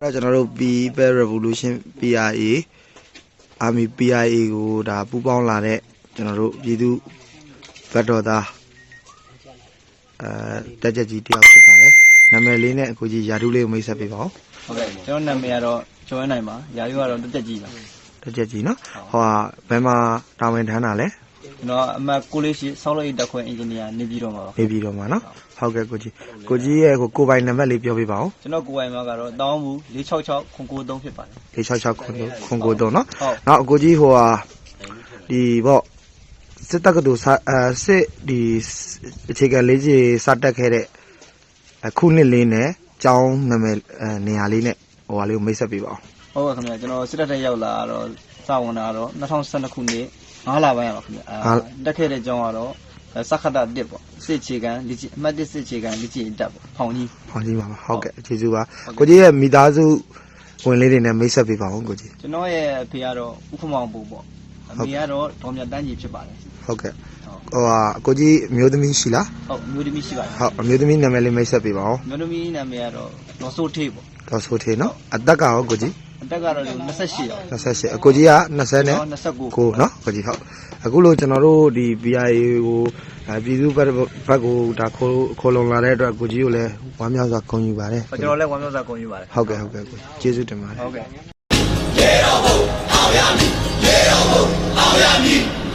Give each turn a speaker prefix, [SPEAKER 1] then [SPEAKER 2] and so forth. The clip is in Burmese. [SPEAKER 1] အဲ့တော့ကျွန်တော်တို့ People Revolution PRA Army PRA ကိုဒါပူးပေါင်းလာတဲ့ကျွန်တော်တို့ပြည်သူဗတ်တော်သားအဲတက်ကြကြီးတယောက်ဖြစ်ပါတယ်နာမည်လေးနဲ့အခုကြီးယာဒူးလေးကိုမိတ်ဆက်ပေးပါဦး
[SPEAKER 2] ဟုတ်ကဲ့ကျွန်တော်နာမည်ကတော့ကျော်ရနိုင်ပါယာရီကတော့တက်တက်ကြီးပါ
[SPEAKER 1] တက်ကြကြီးနော်ဟောဘယ်မှာတာဝန်ထမ်းတာလဲ
[SPEAKER 2] ကျွန်တော်အမှတ်ကိုလေးရှိဆောက်လုပ်ရေးတက်ခွင့်အင်ဂျင်နီယာနေပြီးတော့မှာပါ
[SPEAKER 1] နေပြည်တော်မှာနော်ဟုတ်ကဲ့ကိုကြီးကိုကြီးရဲ့ကိုကိုယ်ပိုင်နံပါတ်လေးပြောပေးပါဦး
[SPEAKER 2] ကျွန်တော်ကိုယ်ပိုင်မှာကတော့တောင်းဘူး666 993ဖြစ်ပါတယ်
[SPEAKER 1] 666ခွန်ခွန်ကိုတော့နော်
[SPEAKER 2] ဟုတ်
[SPEAKER 1] နောက်ကိုကြီးဟိုဟာဒီပေါ့စစ်တပ်ကတူစာအဲစစ်ဒီအခြေခံလေးကြီးစတက်ခဲ့တဲ့အခုနှစ်လေးနဲ့ကျောင်းနာမည်အဲနေရာလေးနဲ့ဟိုဟာလေးကိုမိတ်ဆက်ပေးပါဦး
[SPEAKER 2] ဟုတ်ကဲ့ခင်ဗျာကျွန်တော်စစ်တပ်ထဲရောက်လာတော့စဝင်တာကတော့2012ခုနှစ်9လပိုင်းရပါခင်ဗျာ
[SPEAKER 1] ဟာ
[SPEAKER 2] အာတက်ခဲ့တဲ့ကျောင်းကတော့အဲစခတ်တာ1ပေါ့စစ်ချေကန်လက်ချေအမှတ်1စစ်ချေကန်လက်ချေတက်ပေါ့ဖောင်ကြီး
[SPEAKER 1] ဟောင်းကြီးပါပါဟုတ်ကဲ့ကျေးဇူးပါ
[SPEAKER 2] ဟုတ်ကဲ့
[SPEAKER 1] ကိုကြီးရဲ့မိသားစုဝင်လေးတွေနဲ့မိတ်ဆက်ပေးပါဦးကိုကြီး
[SPEAKER 2] ကျွန်တော်ရဲ့အဖေကတော့ဥက္ကမောင်ပူပေါ့အ
[SPEAKER 1] ဟုတ်
[SPEAKER 2] မေ
[SPEAKER 1] ကဲ့
[SPEAKER 2] ကတော့ဒေါ်မြတ်တန်းကြီးဖြစ်ပါတယ်
[SPEAKER 1] ဟုတ်ကဲ့
[SPEAKER 2] ဟုတ်
[SPEAKER 1] ဟိုဟာကိုကြီးအမျိုးသမီးရှိလား
[SPEAKER 2] ဟုတ်အမျိုးသမီးရှိပါတယ်
[SPEAKER 1] ဟုတ်အမျိုးသမီးနာမည်လေးမိတ်ဆက်ပေးပါဦး
[SPEAKER 2] အမျိုးသမီးနာမည်ကတော့ဒေါ်စိုးထေးပေါ့
[SPEAKER 1] တော့ဆိုသေးနော်အသက်ကရောကိုကြီး
[SPEAKER 2] အသက်ကတော့လူ28ရော
[SPEAKER 1] 28အကိုကြီးက20နဲ့
[SPEAKER 2] ကျွန်တော်29
[SPEAKER 1] ကိုနော်ကိုကြီးဟုတ်အခုလို့ကျွန်တော်တို့ဒီ BIA ကိုအဲပြည်သူ့ဘက်ဘက်ကိုဒါခိုးခိုးလုံလာတဲ့အတွက်ကိုကြီးကိုလည်းဝမ်းမြောက်စွာဂုဏ်ယူပါတယ်
[SPEAKER 2] ကျွန်တော်လည်းဝမ်းမြောက်စွာဂုဏ်ယူပါတယ်
[SPEAKER 1] ဟုတ်ကဲ့ဟုတ်ကဲ့ကိုကျေးဇူးတင်ပါတယ်
[SPEAKER 2] Okay.
[SPEAKER 3] ရ